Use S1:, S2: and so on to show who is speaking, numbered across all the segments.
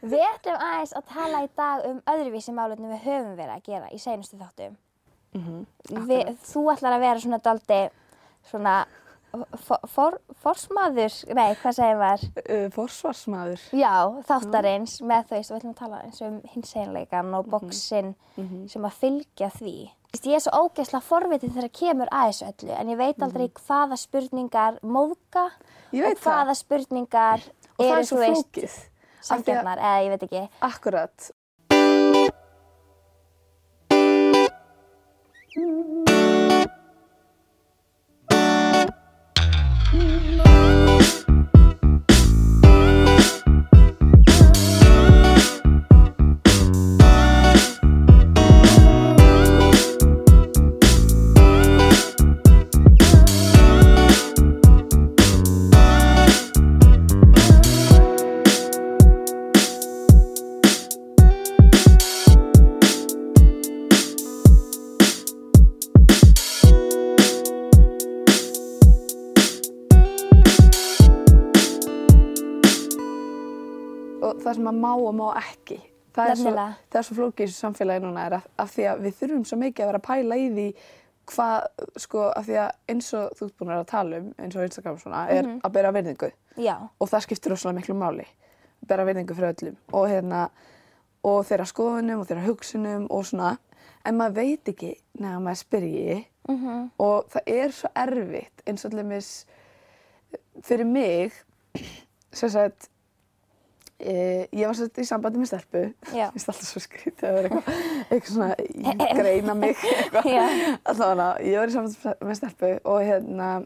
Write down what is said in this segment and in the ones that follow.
S1: Við ætlum aðeins að tala í dag um öðruvísi málefni við höfum verið að gera í seinustu þáttum.
S2: Mhm,
S1: við, þú ætlar að vera svona daldi, svona for, for, forsmaður, nei, hvað segir maður?
S2: Uh, forsvarsmaður.
S1: Já, þáttarins með þau, svo við ætlum að tala eins um hinseginleikan
S2: Mhm.
S1: og bóksinn sem að fylgja því. Þú veist, Ég er svo ógeðslega forvitin þegar kemur að þessu öllu, en ég veit aldrei hvaða spurningar móðga
S2: Mhm. Ég
S1: og
S2: veit
S1: hvaða spurningar
S2: Og það
S1: eru,
S2: er svo
S1: þú veist,
S2: flókið. Af því að-
S1: samgjarnar, eða ég veit ekki.
S2: Akkurat. Og það sem að má og má ekki. Það er, svo,
S1: Nefnilega.
S2: það er svo flókið í þessu samfélagi núna er af, af því að við þurfum svo mikið að vera að pæla í því hvað, sko, af því að eins og þú ert búin að vera að tala um, eins og Instagram svona, er
S1: Mhm.
S2: að bera virðingu.
S1: Já,
S2: og það skiptir rosalega miklu máli bara vinningu fyrir öllum og, hérna, og þeirra skoðunum og þeirra hugsunum og svona en maður veit ekki neða maður spyrji -hmm. og það er svo erfitt eins og allumis fyrir mig sem sagt e, ég var sett í sambandi með stelpu
S1: Já.
S2: finnst alltaf svo skrítið að vera eitthvað eitthvað svona í- greina mig eitthvað
S1: Já.
S2: allavega ég var í sambandi með stelpu og hérna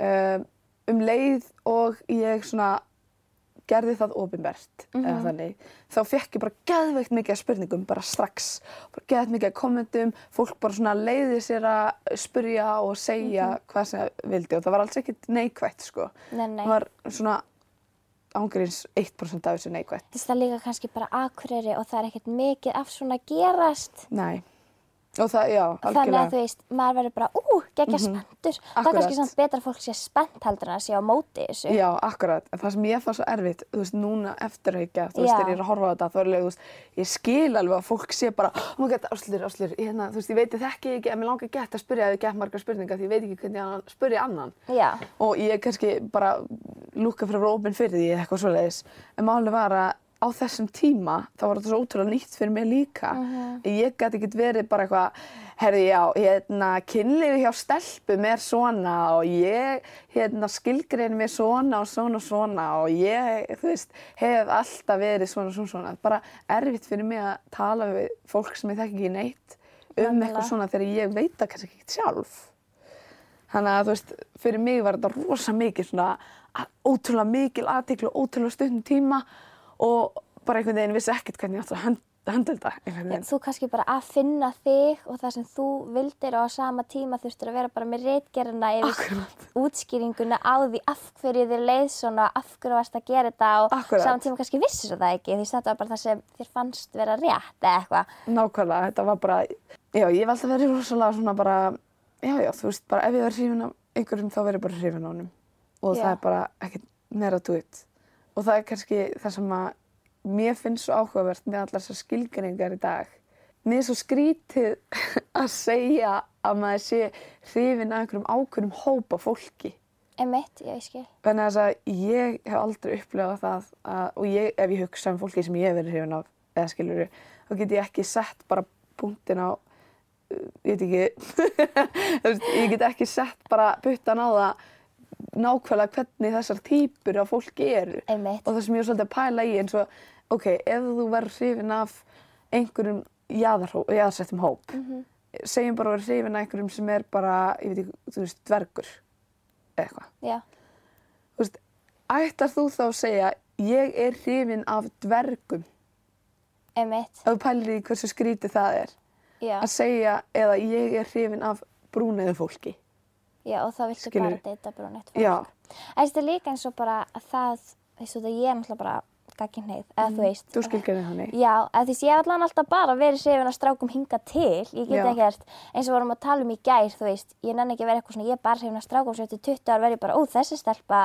S2: um, um leið og ég svona gerði það ofinvert
S1: Mhm.
S2: eða þannig, þá fekk ég bara geðveikt mikið af spurningum, bara strax bara geðveikt mikið af kommentum, fólk bara svona leiði sér að spurja og segja
S1: Mhm.
S2: hvað sem það vildi og það var alls ekkit neikvætt sko,
S1: nei, nei.
S2: það var svona ángurins 1% af þessu neikvætt
S1: Þess það er líka kannski bara akureyri og það er ekkert mikið af svona gerast.
S2: Nei, og það, já,
S1: Þannig
S2: algjörlega Mhm.
S1: að þú veist, maður verður bara, ú, geggja spenntur. Það er
S2: Akkúrat.
S1: kannski samt betra að fólk sé spennt heldur en að sé á móti þessu.
S2: Já, akkurat. En það sem ég fann svo erfitt, þú veist, núna eftir reykja, þú veist,
S1: Já.
S2: þegar ég er að horfa á þetta, þá er alveg, þú veist, ég skil alveg að fólk sé bara, oh my god, áslur, áslur, hérna, þú veist, ég veit ég þekki ekki, en mér langar gett að spyrja þau gett margar spurningar, því ég veit ekki hvernig hann spyrja annan.
S1: Já.
S2: Og ég er kannski bara lúka fyrir að vera opinn fyrir því eða eitthvað svoleiðis. En málið var að á þessum tíma, þá var þetta svo ótrúlega nýtt fyrir mig líka. Ég gæti ekki verið bara eitthvað, herði já, hérna, kynlífi hjá stelpum er svona og ég, hérna, skilgrein mér svona og svona og svona og ég, þú veist, hef alltaf verið svona og svona, svona. Bara erfitt fyrir mig að tala við fólk sem ég þekki ekki neitt um
S1: Nefnilega.
S2: eitthvað svona þegar ég veit það kannski ekki sjálf. Þannig að þú veist, fyrir mig var þetta rosa mikið svona a- ótrúlega mikil aðtiklu, ótrúlega stundum tíma og bara einhvern veginn vissi ekkert hvernig ég átti að hönd- höndla þetta. einhvern veginn.
S1: Þú kannski bara að finna þig og það sem þú vildir og á sama tíma þurftur að vera bara með reitgerina yfir
S2: Akkúrat.
S1: útskýringuna á því af hverju þér leið svona, af hverju varst að gera þetta og
S2: Akkúrat.
S1: sama tíma kannski vissir það ekki því þetta var bara það sem þér fannst vera rétt eða eitthvað.
S2: Nákvæmlega, þetta var bara, já, ég hef alltaf verið rosalega svona bara, já, já, þú veist, bara ef ég verið hrifin af einhverjum þá verið ég bara hrifin á honum og
S1: Já.
S2: það er bara ekkert meira duitt. Og það er kannski það sem að mér finnst svo áhugavert með allar þessar skilgreiningar í dag. Mér er svo skrítið að segja að maður sé hrifin af einhverjum ákveðnum hópa fólki.
S1: Emitt, já, ég skil.
S2: Þannig að þess að ég hef aldrei upplegað það að, og ég, ef ég hugsa um fólki sem ég hef verið hrifin af, eða skilur þá get ég ekki sett bara punktin á, uh, ég veit ekki, þú veist, ég get ekki sett bara puttan á það nákvæmlega hvernig þessar típur af fólki eru.
S1: Einmitt.
S2: Og það sem ég er svolítið að pæla í eins og, ok, ef þú verður hrifin af einhverjum jaðarhó, jaðarsettum hóp, segjum bara að verður hrifin af einhverjum sem er bara, ég veit ekki, þú veist, dvergur, eða eitthvað
S1: Já.
S2: þú veist, ætlar þú þá að segja ég er hrifin af dvergum
S1: Emitt,
S2: ef þú pælir í hversu skrítið það er
S1: já,
S2: að segja eða ég er hrifin af brúneðu fólki
S1: já og þá viltu bara
S2: Skilurðu?
S1: deyta brúnett
S2: Já.
S1: fólk. Það er líka eins og bara að það, þú veist, ég er náttúrulega bara gagginneið, eða þú veist.
S2: Mhm. þú skilgjörði þannig
S1: Já, eða þú veist, ég hef allan alltaf bara verið sefin að strákum hinga til, ég get
S2: Já.
S1: ekkert, eins og vorum að tala um í gær, þú veist, ég nenni ekki að vera eitthvað svona, ég er bara sefin að strákum sem eftir 20 ár verði bara, ó, þessi stelpa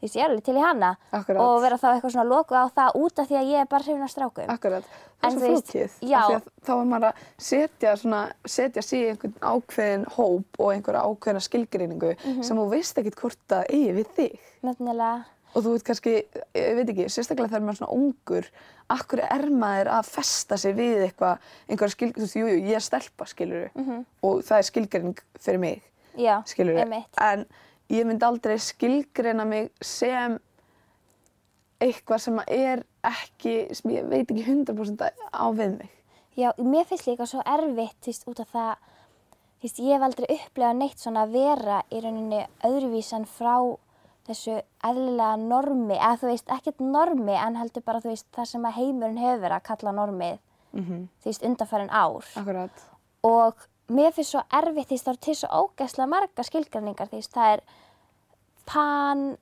S1: Þú veist, ég er alveg til í hana
S2: Akkurat.
S1: og vera þá eitthvað svona lokuð á það út af því að ég er bara hrifin af strákum.
S2: Akkurat,
S1: En
S2: það er
S1: þú
S2: svo
S1: veist,
S2: flókið.
S1: já.
S2: af því að Þá er maður að setja, svona, setja sig í einhvern ákveðin hóp og einhverja ákveðina skilgreiningu
S1: Mhm.
S2: sem þú veist ekkert hvort það eigi við þig.
S1: Nefnilega,
S2: Og þú veit kannski, ég veit ekki, sérstaklega þegar maður er svona ungur, akkur er maður að festa sig við eitthvað, einhverja skilgreiningu, þú veist, jú, jú, ég er stelpa, skilur og það er skilgreining fyrir mig,
S1: já,
S2: skilur
S1: einmitt.
S2: En ég myndi aldrei skilgreina mig sem eitthvað sem er ekki, sem ég veit ekki 100% á við mig.
S1: Já, mér finnst líka svo erfitt, þú veist, út af það, þú veist, ég hef aldrei upplegað neitt svona að vera í rauninni öðruvísan frá þessu eðlilega normi, eða þú veist, ekkert normi, en heldur bara, þú veist, það sem að heimurinn hefur verið að kalla normið,
S2: Mm -hmm.
S1: þú veist, undanfærin ár.
S2: Akkurat.
S1: og mér finnst svo erfitt því að það eru til svo ógæslega marga skilgjarningar því að það er pan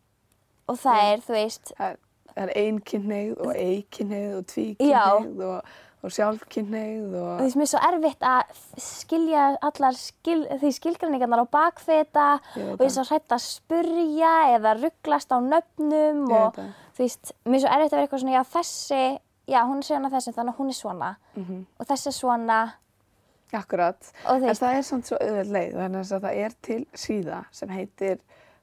S1: og það er, þú veist,
S2: Það er- það er einkinnið og eikinnið og tvíkinnið og, og sjálfkinnið
S1: þú
S2: og...
S1: veist, mér er svo erfitt að skilja allar skil, því skilgjarningarnar á bakfeta
S2: Ég veit
S1: og ég er svo hrætt að spurja eða rugglast á nöfnum
S2: Ég veit
S1: og
S2: það.
S1: þú veist, mér er svo erfitt að vera eitthvað svona, já þessi, já hún er sérna þessum þannig að hún er svona
S2: Mhm.
S1: og þessi er svona
S2: Akkurat.
S1: og þú
S2: En
S1: veist,
S2: það er samt svo auðveld leið þannig að það er til síða sem heitir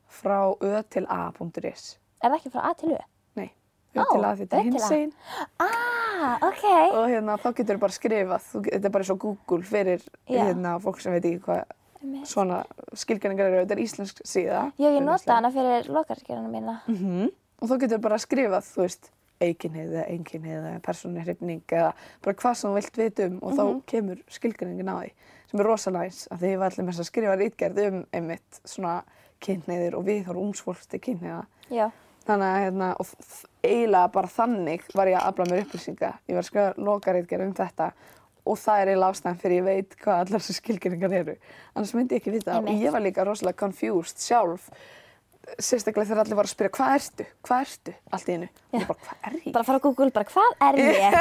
S2: frá ö til a.is.
S1: er það ekki frá A til U?
S2: Nei,
S1: Ó,
S2: ö til a þetta
S1: Ö
S2: er
S1: til A.
S2: hinsegin
S1: Ah, ok,
S2: og hérna þá getur bara skrifað, þú, þetta er bara svo Google fyrir
S1: Já.
S2: hérna fólk sem veit ekki hvað
S1: Einmitt.
S2: svona skilgjarningar eru, þetta er íslensk síða.
S1: já ég nota hana fyrir lokarskjörnum mína.
S2: -hmm. og þá getur bara skrifað, þú veist, eikinnið eða einkinnið eða persónuhrifning eða bara hvað sem þú vilt vita um og þá kemur skilgreiningin á því sem er rosa næs af því ég var allir með þess að skrifa rítgerð um einmitt svona kynniðir og við þá erum til kynniða
S1: Já.
S2: þannig að hérna og þ- eiginlega bara þannig var ég að afla mér upplýsinga ég var að skrifa lokareitgerð um þetta og það er eiginlega ástæðan fyrir ég veit hvað allar þessu skilgjöringar eru annars myndi ég ekki vita það og
S1: Einmitt.
S2: ég var líka rosalega confused sjálf sérstaklega þegar allir var að spyrja hvað ertu, hvað ertu allt í einu, og ég bara hvað er ég
S1: bara fara á Google, bara hvað er ég?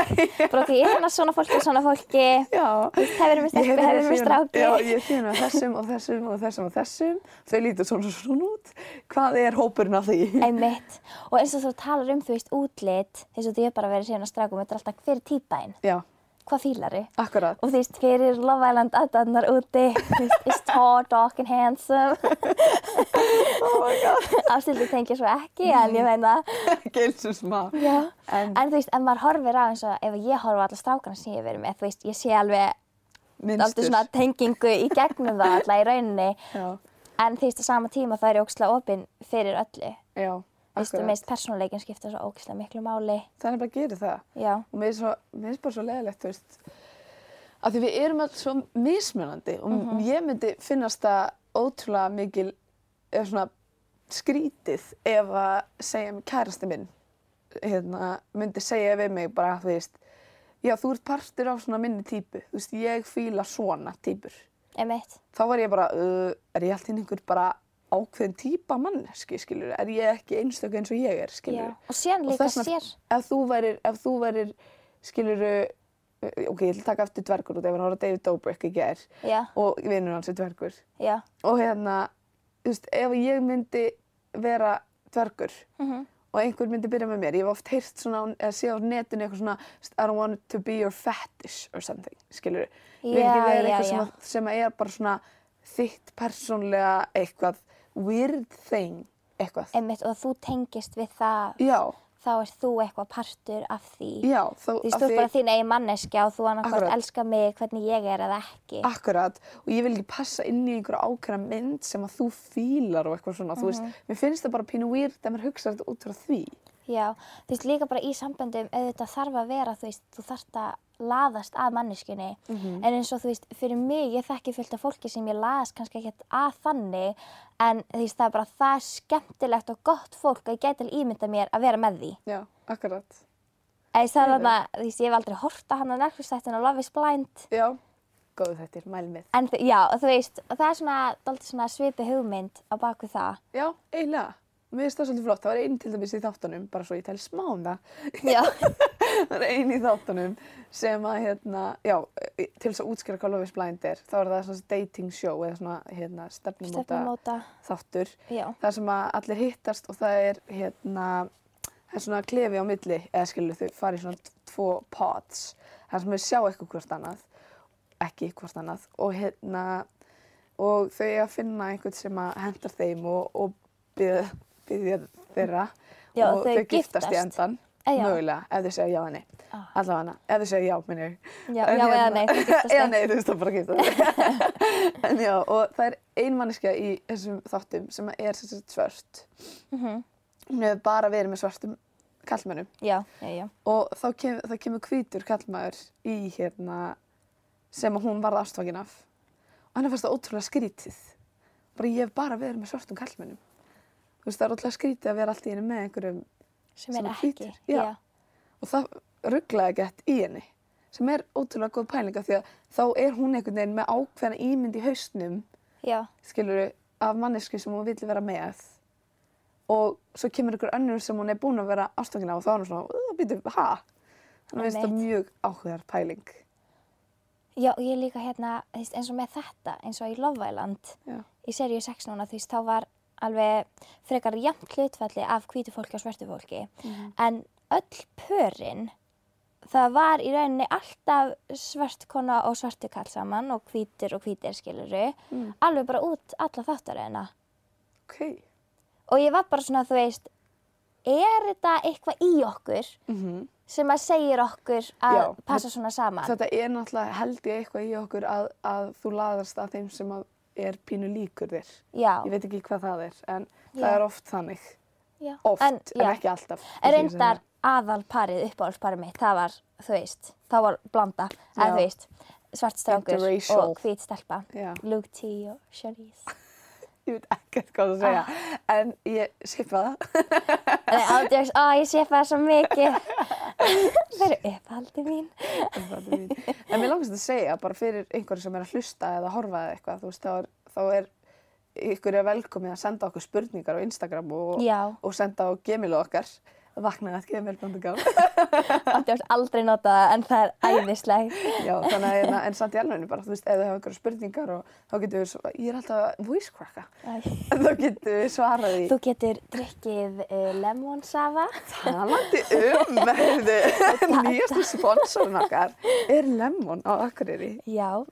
S1: bara ok, ég finna svona fólki, svona fólki,
S2: Já,
S1: það verður með stelpu, það verður með stráki.
S2: Já, ég þýðin með þessum og þessum og þessum og þessum. Þau lítur svona svona út. Hvað er hópurinn af því?
S1: Einmitt. Og eins og þú talar um, þú veist, útlit, eins og þú er bara verið síðan að strákum, þetta er alltaf hver er típaðinn,
S2: Já,
S1: hvað fílaru?
S2: akkurat.
S1: Og þú veist, hver er Love Island aðdannar úti, þú veist, is tall, dark and handsome,
S2: Oh my god,
S1: afstildi tengja svo ekki, en ég meina,
S2: ekki eins og smá.
S1: Mm. já.
S2: En-
S1: En, þú veist, ef maður horfir á eins og ef ég horfa á alla strákana sem ég hef verið með, þú veist, ég sé alveg aldrei
S2: Minnstur.
S1: svona tengingu í gegnum það alla í rauninni.
S2: Já,
S1: En þú veist, á sama tíma það er ég ógislega opinn fyrir öllu.
S2: já,
S1: Þú veist,
S2: akkurat.
S1: meist persónuleikin skipta svo ógislega miklu máli.
S2: Það er bara að gera það.
S1: Já,
S2: Og mér er svo- mér finnst bara svo leðilegt, þú veist, af því við erum alls svo mismunandi og ég myndi finnast það ótrúlega mikil, eða svona skrítið ef að segja mér kærasti minn, hérna, myndi segja við mig bara, þú veist, já, þú ert partur af svona minni típu, þú veist, ég fíla svona típur.
S1: emitt.
S2: þá var ég bara, uh, er ég allt inn einhver bara ákveðin típa manneski, skilur, er ég ekki einstök eins og ég er,
S1: Já.
S2: skilur.
S1: Og síðan líka sér.
S2: ef þú værir, ef þú værir, skilur, ok, ég ætla að taka aftur dvergur út, ef hann horfði á David Dobrik í gær
S1: Já,
S2: og vinnur hans er dvergur.
S1: já,
S2: Og hérna, þú veist, ef ég myndi vera dvergur
S1: Mhm.
S2: og einhver myndi byrja með mér, ég hef oft heyrt svona, á- eða sé á netinu eitthvað svona, I don't want to be your fetish or something, skilur Ég vil
S1: Já,
S2: ekki vera
S1: já,
S2: eitthvað
S1: já.
S2: sem, að, sem að er bara svona þitt persónlega eitthvað, weird thing, eitthvað.
S1: emitt. Og þú tengist við það,
S2: já,
S1: þá er þú eitthvað partur af því.
S2: já, þá,
S1: Þú veist,
S2: af
S1: þú er bara þín eigin manneskja og þú annarkvært
S2: Akkurat. Ah.
S1: elskar mig hvernig ég er eða ekki.
S2: Akkurat, og ég vil ekki passa inn í einhverja ákveðna mynd sem að þú fílar og eitthvað svona, þú
S1: Mhm.
S2: veist, mér finnst það bara pínu weird að maður hugsa þetta út frá því.
S1: Já, þú veist, líka bara í samböndum auðvitað þarf að vera, þú veist, þú þarft að laðast að manneskunni
S2: Mhm.
S1: en eins og þú veist, fyrir mig, ég þekki fullt af fólki sem ég laðast kannski ekkert að þannig en þú veist, það er bara það skemmtilegt og gott fólk að ég gæti alveg ímynda mér að vera með því
S2: Já, akkurat.
S1: eða þú veist, það er þarna, þú veist, ég hef aldrei horta hann að nærkvistættin og Love is Blind
S2: Já, góðu þetta, mælmið.
S1: en þú- já, og þú veist, og það er svona, dálítið svona svipi hugmynd á baku það
S2: Já, eiginlega. Mér finnst það svolítið flott, það var einn til dæmis í þáttunum, bara svo ég tel smá um það,
S1: Já,
S2: það er eini í þáttunum sem að, hérna, já, til þess að útskýra hvað Love is Blind er, þá er það svona dating show eða svona, hérna, stefnumóta
S1: Stefnumóta,
S2: þáttur,
S1: já.
S2: þar sem að allir hittast og það er, hérna, það er svona klefi á milli, eða skilur þau fara í svona t- tvo pods, þar sem þau sjá eitthvað hvort annað, ekki hvort annað, og hérna, og þau eiga að finna einhvern sem að hendar þeim og, og byðja, byðja þeirra
S1: Já,
S2: og
S1: þau
S2: þau giftast í
S1: giftast.
S2: endan,
S1: Eh, já.
S2: mögulega, ef þau segja já henni.
S1: Ah.
S2: Allavega, ef þið segja já, minn ég.
S1: Já,
S2: En
S1: já eða nei, þau giftast
S2: eða
S1: ekki.
S2: nei, þú veist það bara að gifta þig. en já, og það er ein manneskja í þessum þáttum sem er sem sagt svört. Hún hefur bara verið með svörtum kallmönnum
S1: Mhm. Já, já, já.
S2: og þá, kem, þá kemur hvítur kallmæður í hérna sem að hún varð ástfangin af. Og henni fannst það ótrúlega skrítið. Bara ég hef bara verið með svörtum kallmönnum. Þú veist, það er ótrúlega skrítið að vera allt í henni með einhverjum
S1: Sem,
S2: Sem
S1: er
S2: er
S1: ekki.
S2: hvítur, já. og það rugglaði gett í henni sem er ótrúlega góð pælinga því að þá er hún einhvern veginn með ákveðna ímynd í hausnum
S1: Já,
S2: skiluru, af mannesku sem hún vill vera með og svo kemur einhver önnur sem hún er búin að vera ástofngin á og þá er hún svona, það býtu, ha? Þannig finnst það
S1: Einmitt.
S2: mjög áhugaðar pæling.
S1: já, og ég líka hérna, þú veist, eins og með þetta, eins og í Love Island,
S2: Já.
S1: í seríu 6 núna, þú veist, þá var alveg frekar jafn hlutfalli af hvítu fólki og svörtu fólki.
S2: Mhm.
S1: En öll pörin, það var í rauninni alltaf svört kona og svörtu kall saman og hvítur og hvítir skiluru,
S2: Mm.
S1: alveg bara út alla þáttaröðina.
S2: Ok.
S1: Og ég var bara svona, þú veist, er þetta eitthvað í okkur sem að segir okkur að
S2: Já,
S1: passa svona saman?
S2: Þetta er náttúrulega held ég eitthvað í okkur að, að þú laðast að þeim sem að er pínu líkur þér.
S1: já,
S2: Ég veit ekki hvað það er, en
S1: Já.
S2: það er oft þannig.
S1: já.
S2: Oft, en,
S1: já.
S2: ekki alltaf.
S1: En
S2: Ég sé það.
S1: reyndar aðalparið, uppáhaldsparið mitt, það var, þú veist, það var blanda, eða
S2: Já.
S1: þú veist, svart strákur
S2: Interracial.
S1: og hvít stelpa.
S2: Já.
S1: Luke T og Charlize.
S2: Ég veit ekkert hvað það segja,
S1: Ah.
S2: en ég sipa það.
S1: Nei, ándjóks, ó, ég sé það svo mikið. það eru uppáhaldið mín.
S2: en það er mín. En mér langast að segja, bara fyrir einhverju sem er að hlusta eða horfa eða eitthvað, þú veist, þá er, þá er ykkur er velkomið að senda okkur spurningar á Instagram og,
S1: Já,
S2: og senda á gemilu okkar, vaknaði að gemil.com.
S1: ándjóks, aldrei nota það, en það er æðisleg.
S2: Já, þannig að, hérna, en samt í alvegni bara, þú veist, ef þau hafa einhverju spurningar og þá getur við, sva- ég er alltaf að voice cracka,
S1: Æ.
S2: en þá getur við svarað í
S1: Þú getur drikkið uh, lemonsava.
S2: talandi um herðu, nýjastu sponsorinn okkar er Lemon á Akureyri.
S1: Já,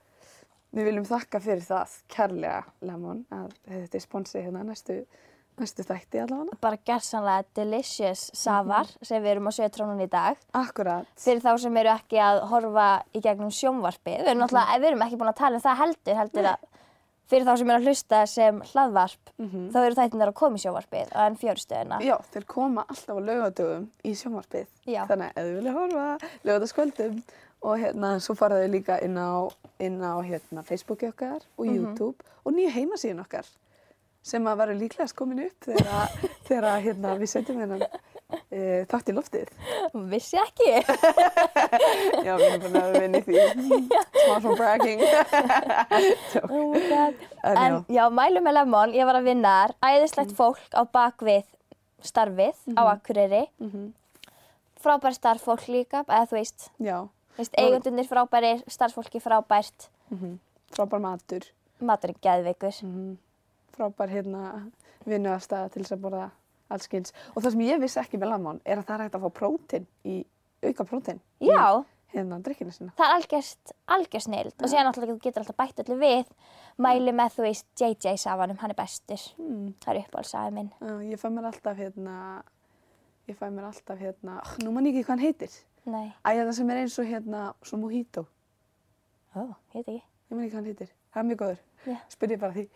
S2: Við viljum þakka fyrir það, kærlega Lemon, að þetta er sponsið hérna næstu, næstu þætti allavega.
S1: bara gerðsanlega delicious safar
S2: Mhm.
S1: sem við erum að sögja trónun í dag.
S2: Akkurat.
S1: Fyrir þá sem eru ekki að horfa í gegnum sjónvarpið, við erum,
S2: Mhm.
S1: náttúrulega, við erum ekki búin að tala um það heldur, heldur að fyrir þá sem eru að hlusta sem hlaðvarp, þá eru þættinir að koma í sjónvarpið en fjörstöðina.
S2: Mhm. Já, þeir koma alltaf á laugadögum í sjónvarpið.
S1: Já.
S2: Þannig að ef þið vilja horfa, laugadagskvöldum og hérna, svo fara þau líka inn á, inn á hérna, Facebooki okkar og YouTube og nýju heimasíðin okkar sem að verður líklegast komin upp þegar, að- þegar að, hérna, við setjum hérna e, þátt í loftið.
S1: Vissi ekki.
S2: Já, við erum búin að vinna í því. Smá svona bragging.
S1: Oh my god. En
S2: En já. Mhm.
S1: já, mælum með Lemon, ég var að vinna þar, æðislegt fólk á bakvið starfið á Akureyri. Mm
S2: Mhm.
S1: Frábæri starffólk líka, eða þú veist,
S2: Já,
S1: þú veist eigundunir frábærir, starffólki frábært,
S2: Mhm. frábær matur,
S1: maturinn geðveikur.
S2: Mm. frábær hérna vinnuðarstaða til þess að borða alls kyns. Og það sem ég vissi ekki með lamón er að það er hægt að fá prótin í, auka prótin í
S1: Já,
S2: hérna drikkinu sinna.
S1: það er algjörst, algjörst neild og síðan náttúrulega þú getur alltaf bætt öllu við. Mæli með, þú veist, JJ safanum, hann er bestur.
S2: Mm.
S1: Það er uppáhaldsæði minn.
S2: Já, ég fæ mér alltaf hérna, ég fæ mér alltaf hérna, oh, nú man ég ekki hvað hann heitir.
S1: Nei,
S2: Æ, það sem er eins og hérna, svo mojito,
S1: ó, ég veit ekki.
S2: ég man ekki hvað hann heitir. Það er mjög góður,
S1: Já.
S2: spyr ég bara því.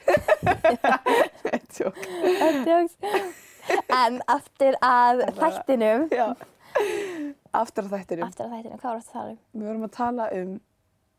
S2: Tjók.
S1: Djóks. en aftur að þættinum,
S2: Já. Aftur á þættinum,
S1: aftur að þættinum, hvað var þetta að tala um?
S2: við vorum að tala um,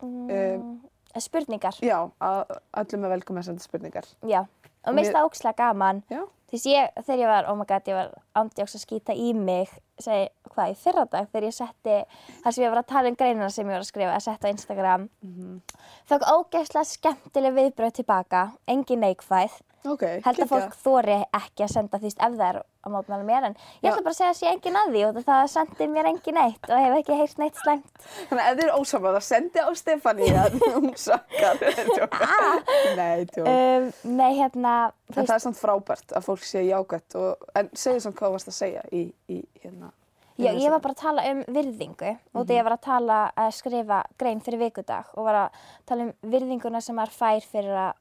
S1: Mm, spurningar,
S2: já, að öllum er velkomið að senda spurningar.
S1: já. Og mér
S2: mér-
S1: finnst það ókslega gaman.
S2: Já.
S1: Þess ég, þegar ég var, oh my god, ég var andjóks að skýta í mig, segi, hvað, í fyrradag, þegar ég setti, þar sem ég var að tala um greinina sem ég var að skrifa, að setja á
S2: Mhm.
S1: Instagram, mm -hmm. þók ógeðslega skemmtileg viðbröð tilbaka, engin neikvæð,
S2: Ok,
S1: held að
S2: geggjað.
S1: fólk þóri ekki að senda því ef það er að mótmæla mér en ég ætla bara að segja að sé engin að því og það sendi mér engin neitt og hef ekki heyrt neitt slæmt
S2: Þannig að ef þið eru ósamála, sendi á Stefani að hún sakar.
S1: Ah.
S2: Tjók. Nei, tjók.
S1: um, nei hérna þú
S2: En
S1: veist,
S2: það er samt frábært að fólk sé jágætt og, en segðu samt hvað þú varst að segja í, í hérna.
S1: já, ég var bara að tala um virðingu og því ég var að tala að skrifa grein fyrir vikudag og var að tala um virðinguna sem maður fær fyrir að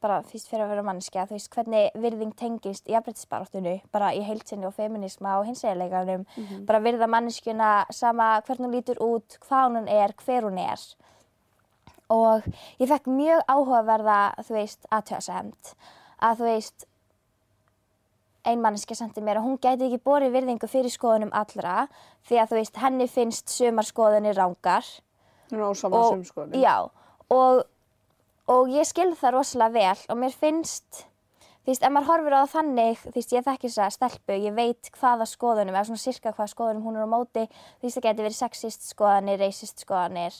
S1: bara fyrst fyrir að vera mannskja, þú veist hvernig virðing tengist í afbreytisbaráttunni, bara í heilsinni og feminisma og hinsegileganum, bara virða mannskjuna sama hvernig hún lítur út, hvað hún er, hver hún er. Og ég fekk mjög áhugaverða, þú veist, aðtöðasemd, að þú veist, ein mannskja sendi mér að hún gæti ekki borið virðingu fyrir skoðunum allra því að þú veist, henni finnst sumar skoðunir rangar
S2: Hún er ósamála sem sko, skoðinni.
S1: já, og, og ég skil það rosalega vel og mér finnst, þú veist, ef maður horfir á það þannig, þú veist, ég þekki þess að stelpu, ég veit hvaða skoðunum, eða svona sirka hvaða skoðunum hún er á móti, þú veist, það geti verið sexist skoðanir, racist skoðanir,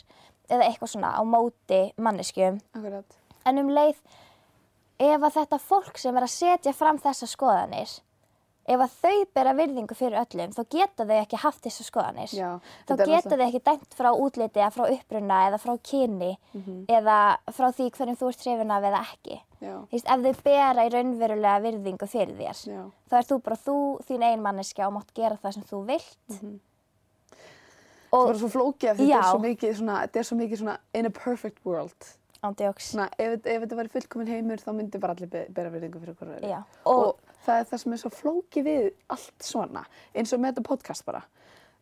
S1: eða eitthvað svona á móti manneskjum.
S2: Akkurat.
S1: En um leið, ef að þetta fólk sem er að setja fram þessa skoðanir, ef að þau bera virðingu fyrir öllum, þá geta þau ekki haft þessa skoðanir.
S2: Já,
S1: þá
S2: þetta er
S1: geta þau ekki dæmt frá útliti eða frá uppruna eða frá kyni
S2: Mhm.
S1: eða frá því hverjum þú ert hrifin af eða ekki.
S2: Já,
S1: Þú veist, ef þau bera í raunverulega virðingu fyrir þér,
S2: já.
S1: þá er þú bara þú, þín ein manneskja og mátt gera það sem þú vilt.
S2: Mhm. Það
S1: Og
S2: var svo flókið af því þetta er
S1: Já.
S2: svo mikið svona, þetta er svo mikið svona in a perfect world.
S1: ándjóks,
S2: Svona, ef, þetta- ef þetta væri fullkominn heimur þá myndi bara allir be- bera virðingu fyrir hverju verið.
S1: já.
S2: Og,
S1: Og,
S2: það er það sem er svo flókið við allt svona, eins og með þetta podcast bara.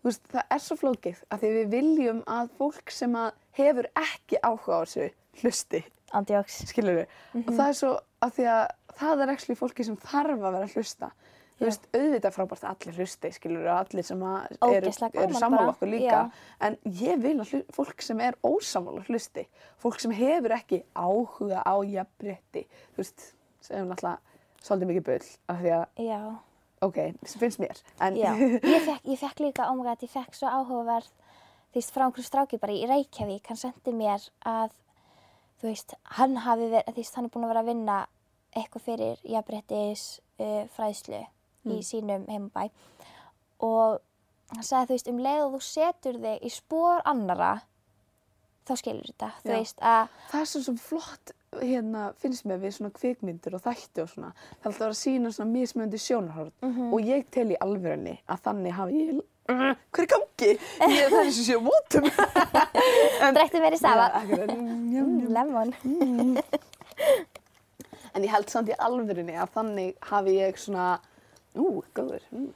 S2: Þú veist, það er svo flókið af því við viljum að fólk sem að hefur ekki áhuga á þessu hlusti.
S1: ándjóks,
S2: skilur við og
S1: Mhm.
S2: það er svo af því að það er ekki fólki sem þarf að vera að hlusta þú
S1: Já.
S2: veist, auðvitað frábært að allir hlusti skilur við, allir sem að eru,
S1: Ógeðslega gaman
S2: eru sammála
S1: bara,
S2: okkur líka
S1: já.
S2: en ég vil að hlu, fólk sem er ósammála hlusti, fólk sem hefur ekki áhuga á jafnrétti þú veist, sem er náttúrulega svolítið mikið bull, af því að,
S1: já.
S2: ok, sem finnst mér en
S1: Já, ég fekk, ég fekk líka, oh my god, ég fekk svo áhugaverð, þú veist, frá einhverjum stráki bara í Reykjavík, hann sendi mér að, þú veist, hann hafi verið, þú veist, hann er búin að vera að vinna eitthvað fyrir jafnbrettis uh, fræðslu
S2: Mm.
S1: í sínum heimabæ og hann sagði, þú veist, um leið og þú setur þig í spór annara, þá skilur þetta, þú
S2: Já.
S1: veist, að,
S2: það er svo, svo flott hérna, finnst mér við svona kvikmyndir og þætti og svona, það er alltaf að vera að sína svona mismöndi sjónarhorn og ég tel í alvörunni að þannig hafi ég hver er gangi? Ég er þessi séu mótum
S1: drekti mér í stafa,
S2: en,
S1: Mm, lemon,
S2: en ég held samt í alvörunni að þannig hafi ég svona ú, góður mm.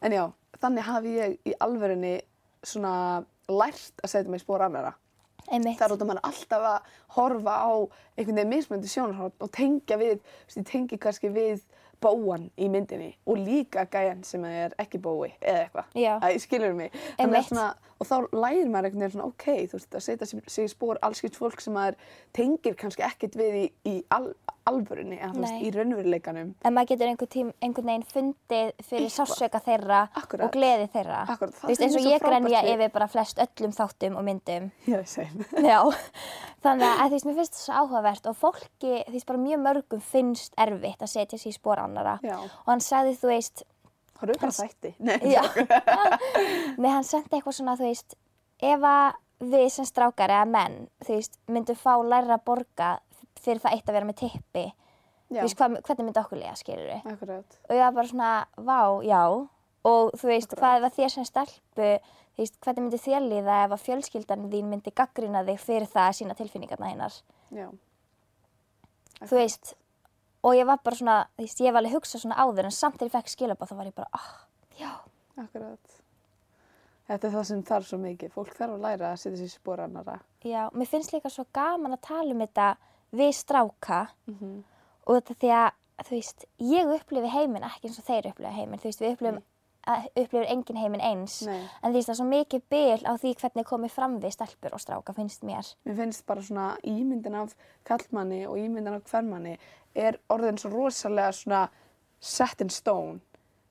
S2: en já, þannig hafi ég í alvörunni svona lært að setja mig í spóra að mera
S1: einmitt,
S2: það er út að maður er alltaf að horfa á einhvern veginn mismöndu sjónarhótt og tengja við, þú veist, ég tengi kannski við bóan í myndinni og líka gæjan sem er ekki bói eða eitthvað,
S1: Já.
S2: það skilur mig Þannig að
S1: Einmitt.
S2: svona, og þá lærir maður einhvern veginn svona ok, þú veist, að setja sig- sig í spór allskipt fólk sem maður tengir kannski ekkert við í, í al, alvörunni eða þú veist,
S1: Nei.
S2: í raunveruleikanum
S1: en maður getur einhver tím, einhvern veginn fundið fyrir sásöka þeirra
S2: Akkurat.
S1: og gleði þeirra.
S2: Akkurat, það
S1: Ah, Þú veist,
S2: finnst
S1: eins
S2: mér
S1: og
S2: svo
S1: ég
S2: frábært
S1: grenja
S2: við-
S1: yfir bara flest öllum þáttum og myndum.
S2: Já, sem.
S1: Já, þannig að þú veist, mér finnst það svo áhugavert og fólki, þú veist, bara mjög mörgum finnst erfitt að setja sig í spór annara.
S2: Já.
S1: Og hann sagði, þú veist,
S2: Horfðu bara á þætti. Nei,
S1: já, með hann sendi eitthvað svona, þú veist, ef að við sem strákar eða menn, þú veist, myndum fá læra að borga fyrir það eitt að vera með tippi, þú
S2: já,
S1: veist, hvað, hvernig myndi okkur lega, skilur við?
S2: akkurat.
S1: og ég var bara svona, vá, já og þú veist, hvað ef að þér sem stelpu þú veist, hvernig myndi þér líða ef að fjölskyldan þín myndi gaggrina þig fyrir það að sína tilfinningarna hennar
S2: Já,
S1: þú veist, og ég var bara svona þú veist, ég var alveg að hugsa svona áður en samt þegar ég fekk skilabáð þá var ég bara, ah, já
S2: akkurat. Þetta er það sem þarf svo mikið. Fólk þarf að læra að setja sig í spór annara.
S1: já, mér finnst líka svo gaman að tala um þetta við stráka og þetta því að, þú veist, ég upplifi heiminn ekki eins og þeir upplifi heiminn, þú veist, við upplifum að upplifur engin heiminn eins
S2: Nei.
S1: en þú veist það er svo mikið byl á því hvernig komið fram við stelpur og stráka finnst mér
S2: Mér finnst bara svona ímyndin af kallmanni og ímyndin af hvernmanni er orðin svo rosalega svona set in stone.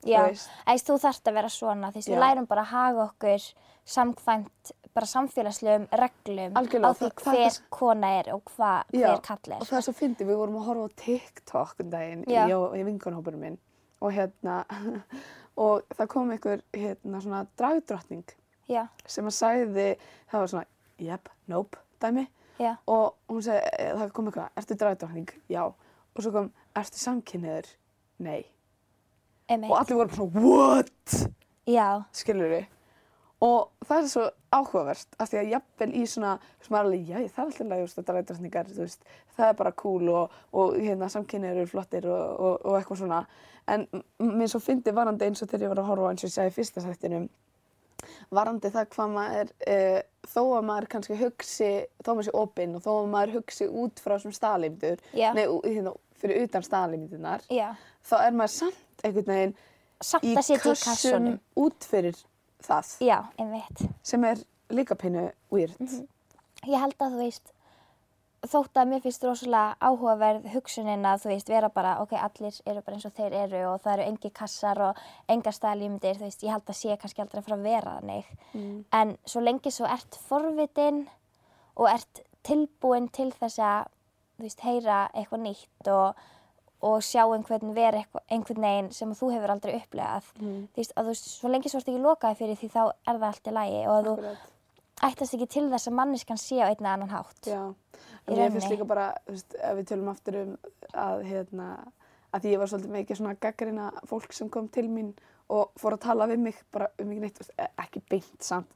S1: Já,
S2: Þú veist.
S1: æst, þú þarft að vera svona því að við
S2: Já.
S1: lærum bara að haga okkur samkvæmt bara samfélagslegum reglum
S2: Algjörlega,
S1: á því
S2: það- það er
S1: hver
S2: þess-
S1: kona er og hva, hver kall
S2: og
S1: er.
S2: það er svo fyndið, við vorum að horfa á TikTok um daginn,
S1: Já.
S2: ég og ég vingunhópurinn minn og hérna og það kom einhver hérna svona dragdrottning
S1: Já,
S2: sem að sagði, það var svona yep, nope, dæmi
S1: já,
S2: og hún segi, það kom eitthvað, ertu dragdrottning? Já, og svo kom, ertu samkynniður? Nei, og
S1: einmitt.
S2: allir voru bara svona, what?
S1: Já,
S2: skilur við og það er svo áhugavert af því að jafnvel í svona sem er alveg, já það er alltaf lægur þetta ræðdrætningar það er bara cool og, og hérna, samkynni eru flottir og, og, og eitthvað svona en m- m- mér svo fyndi varandi eins og þegar ég var að horfa á eins og ég sagði í fyrsta sættinum varandi það hvað maður uh, þó að maður kannski hugsi þó að maður sé opinn og þó að maður hugsi út frá sem staðlimdur
S1: Já.
S2: nei, ú- hérna, fyrir utan staðlimdunar
S1: já.
S2: þá er maður samt einhvern veginn
S1: Samt
S2: í
S1: að sitja í
S2: kössum
S1: kassunum.
S2: út fyrir það
S1: Já, einmitt.
S2: sem er líka pínu weird.
S1: Ég held að þú veist, þótt að mér finnst rosalega áhugaverð hugsunin að þú veist, vera bara, ok, allir eru bara eins og þeir eru og það eru engi kassar og engar staðlýmdir, þú veist, ég held að sé kannski aldrei að fara að vera þannig. En svo lengi svo ert forvitin og ert tilbúin til þess að, þú veist, heyra eitthvað nýtt og, og sjá einhvern vera eitthvað, einhvern veginn sem þú hefur aldrei upplegað. Þú veist, að þú veist, svo lengi svo ert ekki lokaði fyrir því þá er það allt í lagi og að þú
S2: Akkurat,
S1: ættast ekki til þess að manniskan sé á einn eða annan hátt.
S2: já. En mér
S1: rauninni.
S2: finnst líka bara, þú veist, ef við tölum aftur um að, hérna, að ég var svolítið mikið svona gaggrina fólk sem kom til mín og fór að tala við mig bara um mikið neitt, þú veist, e- ekki beint samt,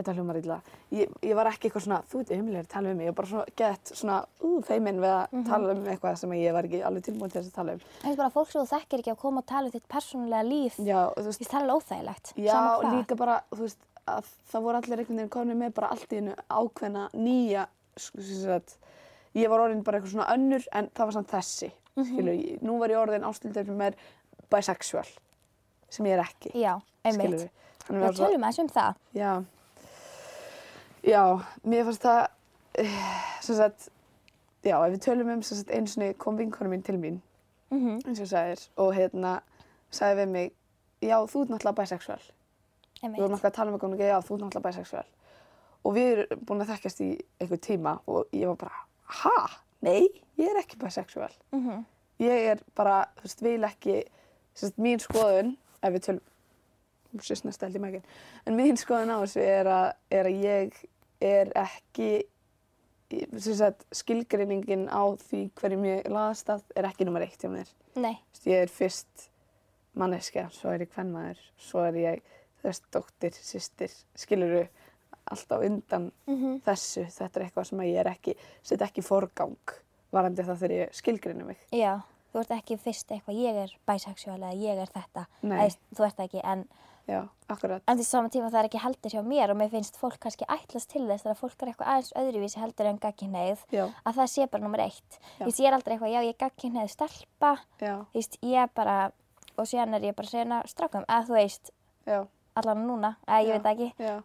S2: þetta hljómar illa. Ég, ég var ekki eitthvað svona, þú veit, umlega að tala um mig, ég var bara svona gett svona, ú, feiminn við að tala um eitthvað sem ég var ekki alveg tilbúin til þess að tala um.
S1: Það er bara fólk sem þú þekkir ekki að koma og tala um þitt persónulega líf.
S2: Já, og þú veist,
S1: Því það er alveg óþægilegt.
S2: Já,
S1: sama hvað.
S2: líka bara, þú veist, að það voru allir einhvern veginn komin með bara allt í einu ákveðna nýja, sko, sem sagt, ég var orðin bara eitthvað svona önnur en það var samt þessi,
S1: Mhm.
S2: mm ég, nú var ég orðin ástildur sem er bisexual, sem ég er ekki,
S1: Já, einmitt.
S2: skilurðu. Þannig
S1: Við
S2: að það,
S1: tölum aðeins um það.
S2: já, já, mér fannst það, eh, sem sagt, já, ef við tölum um, sem sagt, einu sinni kom vinkonu mín til mín,
S1: Mm
S2: eins og sagðir, og hérna, sagði við mig, já, þú ert náttúrulega bisexual. Við vorum
S1: Einmitt.
S2: eitthvað að tala um eitthvað og hún ekki, já, þú ert náttúrulega bisexual. Og við erum búin að þekkjast í einhver tíma og ég var bara, ha? Nei, ég er ekki bisexual.
S1: Mm
S2: Ég er bara, þú veist, vil ekki, sérst, mín skoðun, ef við tölum, þú sést næst held í mækinn, en mín skoðun á þessu er að, er að ég er ekki, sérst, skilgreiningin á því hverjum ég laðast að er ekki nummer eitt hjá mér.
S1: Nei,
S2: Þú veist, ég er fyrst manneskja, svo er ég kvennmaður, svo er ég þess dóttir, sýstir, skiluru alltaf undan
S1: Mhm.
S2: þessu. Þetta er eitthvað sem að ég er ekki, set ekki í forgang varandi það þegar ég skilgrinni mig.
S1: já. Þú ert ekki fyrst eitthvað, ég er bisexual eða ég er þetta.
S2: Nei.
S1: Eða, þú ert það ekki, en,
S2: Já, akkurat.
S1: en því saman tíma það er ekki heldur hjá mér og mér finnst fólk kannski ætlast til þess þegar fólk er eitthvað aðeins öðruvísi heldur en gagkinnæð
S2: Já,
S1: að það sé bara nummer eitt.
S2: Já.
S1: Þú veist, ég er aldrei eitthvað, já, ég er gagkinnæð stelpa,
S2: já,
S1: þú veist, ég er bara, og síðan er ég bara að segja strákum, að þú veist,
S2: já,
S1: allan núna, að ég
S2: Já.
S1: veit það ekki.
S2: já,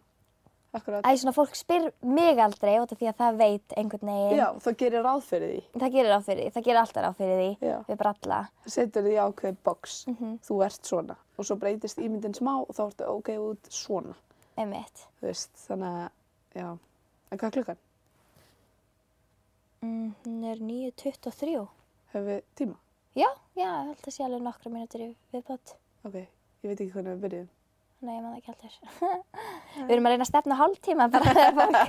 S2: akkurat.
S1: Æ, svona fólk spyr mig aldrei út af því að það veit einhvern veginn.
S2: Já, þá gerir ráð fyrir því.
S1: Það gerir ráð fyrir því, það gerir alltaf ráð fyrir því,
S2: Já.
S1: við bara alla.
S2: Setur því ákveðið box, þú ert svona. Og svo breytist ímyndin smá og þá ertu ok út svona.
S1: Einmitt.
S2: Þú veist, þannig að, já. En hvað er klukkan?
S1: Mm, hún er 9.23.
S2: Höfum við tíma?
S1: Já, já, ég held að sé alveg nokkra mínútur í viðbót.
S2: Ok, ég veit ekki hvernig við byrjuðum.
S1: Nei, ég man það ekki heldur. við erum að reyna að stefna hálftíma bara þegar fólk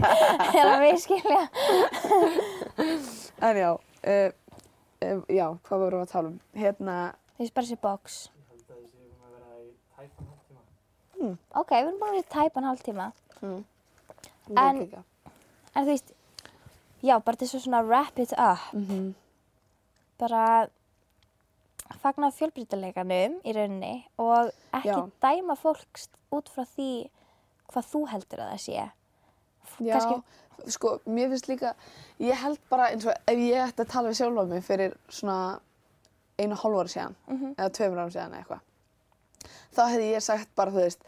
S1: er að miskilja.
S2: En já, uh, uh, já, hvað vorum við að tala um? Hérna,
S1: Þú veist bara þessi box.
S3: held að þessi um að vera í tæpan hálftíma.
S1: Ok, við erum bara að tæpa hann hálftíma.
S2: ég veit
S1: En-
S2: ekki.
S1: En þú veist, já, bara til svo svona wrap it up.
S2: Mhm.
S1: Bara fagna fjölbrytileganum í rauninni og ekki
S2: Já.
S1: dæma fólk st- út frá því hvað þú heldur að það sé.
S2: já,
S1: kannski-
S2: sko, mér finnst líka, ég held bara eins og ef ég ætti að tala við sjálfa mig fyrir svona einu og hálfu ári síðan,
S1: Mhm.
S2: eða tveimur ári síðan eða eitthvað, þá hefði ég sagt bara, þú veist,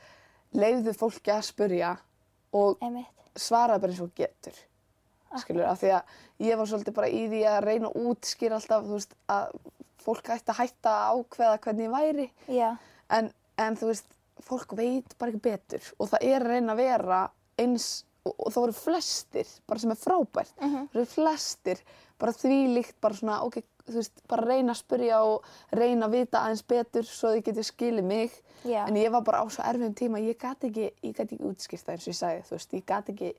S2: leiðu fólki að spurja og
S1: Einmitt.
S2: svara bara eins og þú getur. skilur, af því að ég var svolítið bara í því að reyna að útskýra alltaf, þú veist, að fólk ætti að hætta að ákveða hvernig ég væri,
S1: Já,
S2: en, en þú veist, fólk veit bara ekki betur og það er að reyna að vera eins og, og það voru flestir, bara sem er frábært, mm -hmm. voru flestir bara þvílíkt, bara svona, ok, þú veist, bara reyna að spyrja og reyna að vita aðeins betur svo þið getið skilið mig.
S1: Já.
S2: En ég var bara á svo erfiðum tíma, ég gat ekki, ég gat ekki útskýrt það eins og ég sagði, þú veist, ég gat ekki,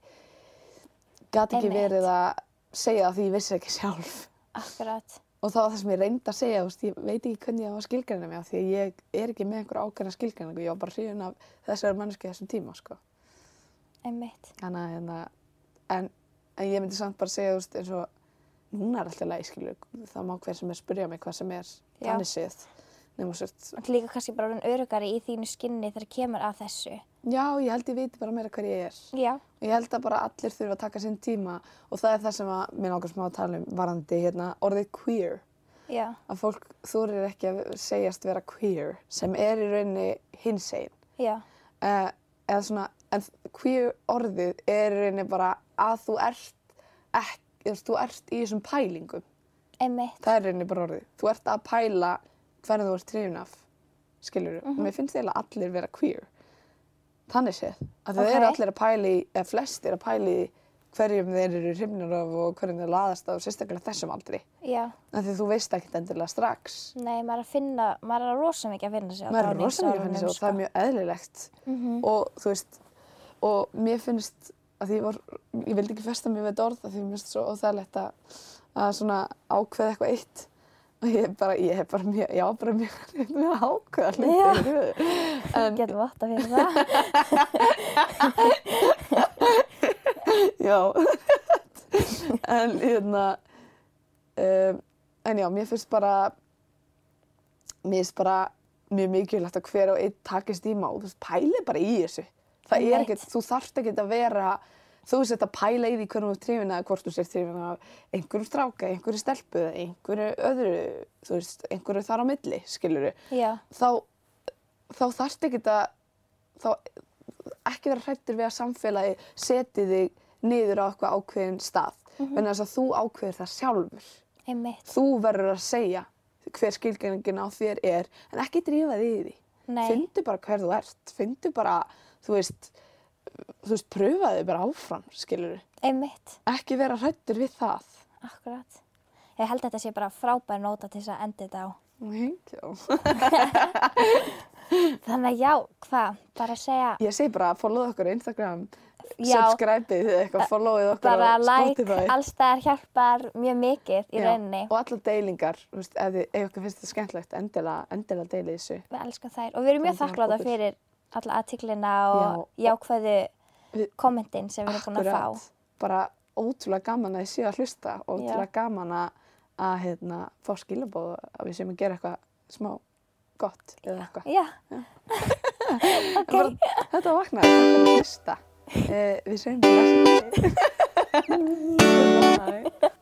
S2: gat ekki
S1: Einmitt.
S2: verið að segja það því ég vissi ekki sjálf.
S1: akkurat.
S2: Og það var það sem ég reyndi að segja, þú veist, ég veit ekki hvernig ég var að skilgreina mig á því að ég er ekki með einhver ákveðna skilgreiningu, ég var bara hrifin af þessari manneski þessum tíma, sko.
S1: Einmitt.
S2: Þannig að, hérna, en, en ég myndi samt bara segja, þú veist, eins og, núna er alltaf læg, skilur, það má hver sem er spyrja mig hvað sem er,
S1: Já.
S2: þannig séð, nema sért,
S1: Og líka kannski bara orðin örugari í þínu skinni þegar kemur að þessu.
S2: já, ég held ég viti bara meira hver ég er.
S1: Já.
S2: Og Ég held að bara allir þurfa að taka sinn tíma og það er það sem að mér nákvæmst má að tala um varandi hérna orðið queer.
S1: Já.
S2: Að fólk þorir ekki að segjast vera queer sem er í rauninni hinsegin.
S1: Já.
S2: Uh, eða svona, en queer orðið er í rauninni bara að þú ert, ekki, þú veist, þú ert í þessum pælingum.
S1: Einmitt.
S2: Það er í rauninni bara orðið. Þú ert að pæla hvernig þú ert trefin af, skilur þú. Mér finnst eiginlega allir vera queer. Þannig séð. Að það
S1: Ok.
S2: eru allir að pæli, eða flestir að pæli hverjum þeir eru hrifnir af og hverjum þeir laðast af, sérstaklega þessum aldri.
S1: Já.
S2: Af því þú veist ekkert endilega strax.
S1: Nei, maður er að finna, maður er að rosa mikið að finna sig á
S2: Maður er rosa mikið fannig svo, það er
S1: sko.
S2: mjög eðlilegt.
S1: Mhm.
S2: Og þú veist, og mér finnst að því ég var, ég vildi ekki festa mér við þetta orð af því mér finnst svo óþægilegt að, að svona ákveða eitthvað eitt. Og ég bara, ég hef bara mjög, já, bara mjög, mjög að ákveða
S1: Já.
S2: hluti í höfu. En
S1: Getur vott að fyrir það.
S2: Já, en hérna, um, en já, mér finnst bara, mér finnst bara mjög mikilvægt að hver og einn takist í má, þú veist, pæli bara í þessu. Það er
S1: Einmitt.
S2: ekkert, þú þarft ekkert að vera, þú veist að pæla í því hvernig þú ert trefin eða hvort þú sér trefin af einhverjum stráka, einhverju stelpu eða einhverju öðru, þú veist, einhverju þar á milli, skiluru
S1: Já.
S2: þá, þá þarft ekki að þá ekki vera hrættur við að samfélagi seti þig niður á eitthvað ákveðin stað mm
S1: Mhm.
S2: vegna þess að þú ákveður það sjálfur
S1: Einmitt.
S2: þú verður að segja hver skilgjörningin á þér er en ekki drífa þig í því
S1: Nei.
S2: findu bara hver þú ert findu bara, þú veist þú veist, pröfa þig bara áfram skilur,
S1: Einmitt.
S2: ekki vera hrættur við það
S1: Akkurat. Ég held að þetta sé bara frábær nóta til þess að enda þetta á.
S2: Thank you.
S1: Þannig að já, hvað? Bara að segja,
S2: ég segi bara, followðu okkur á Instagram
S1: Já.
S2: subscribeið þið eitthvað, followið okkur
S1: bara
S2: á
S1: like,
S2: Spotify
S1: allstæðar hjálpar mjög mikið í
S2: Já,
S1: rauninni.
S2: Og allar deilingar, þú veist, ef, þið, ef okkur finnst þetta skemmtilegt, endilega, endilega deili þessu.
S1: Við elskum þær og við erum mjög
S2: Þannig að
S1: þakkláta
S2: okkur-
S1: fyrir alla aðtiklina og jákvæðu
S2: Við-
S1: kommentin sem við erum búin að fá.
S2: Bara ótrúlega gaman að þið séu að hlusta og
S1: Já.
S2: ótrúlega gaman að, að hérna, fá skilabóð að við séum að gera eitthvað smá gott eða eitthvað.
S1: Já,
S2: En Bara, þetta var vaknaði, þetta er að hlusta. Eh, við segjum bara næsta. Bye.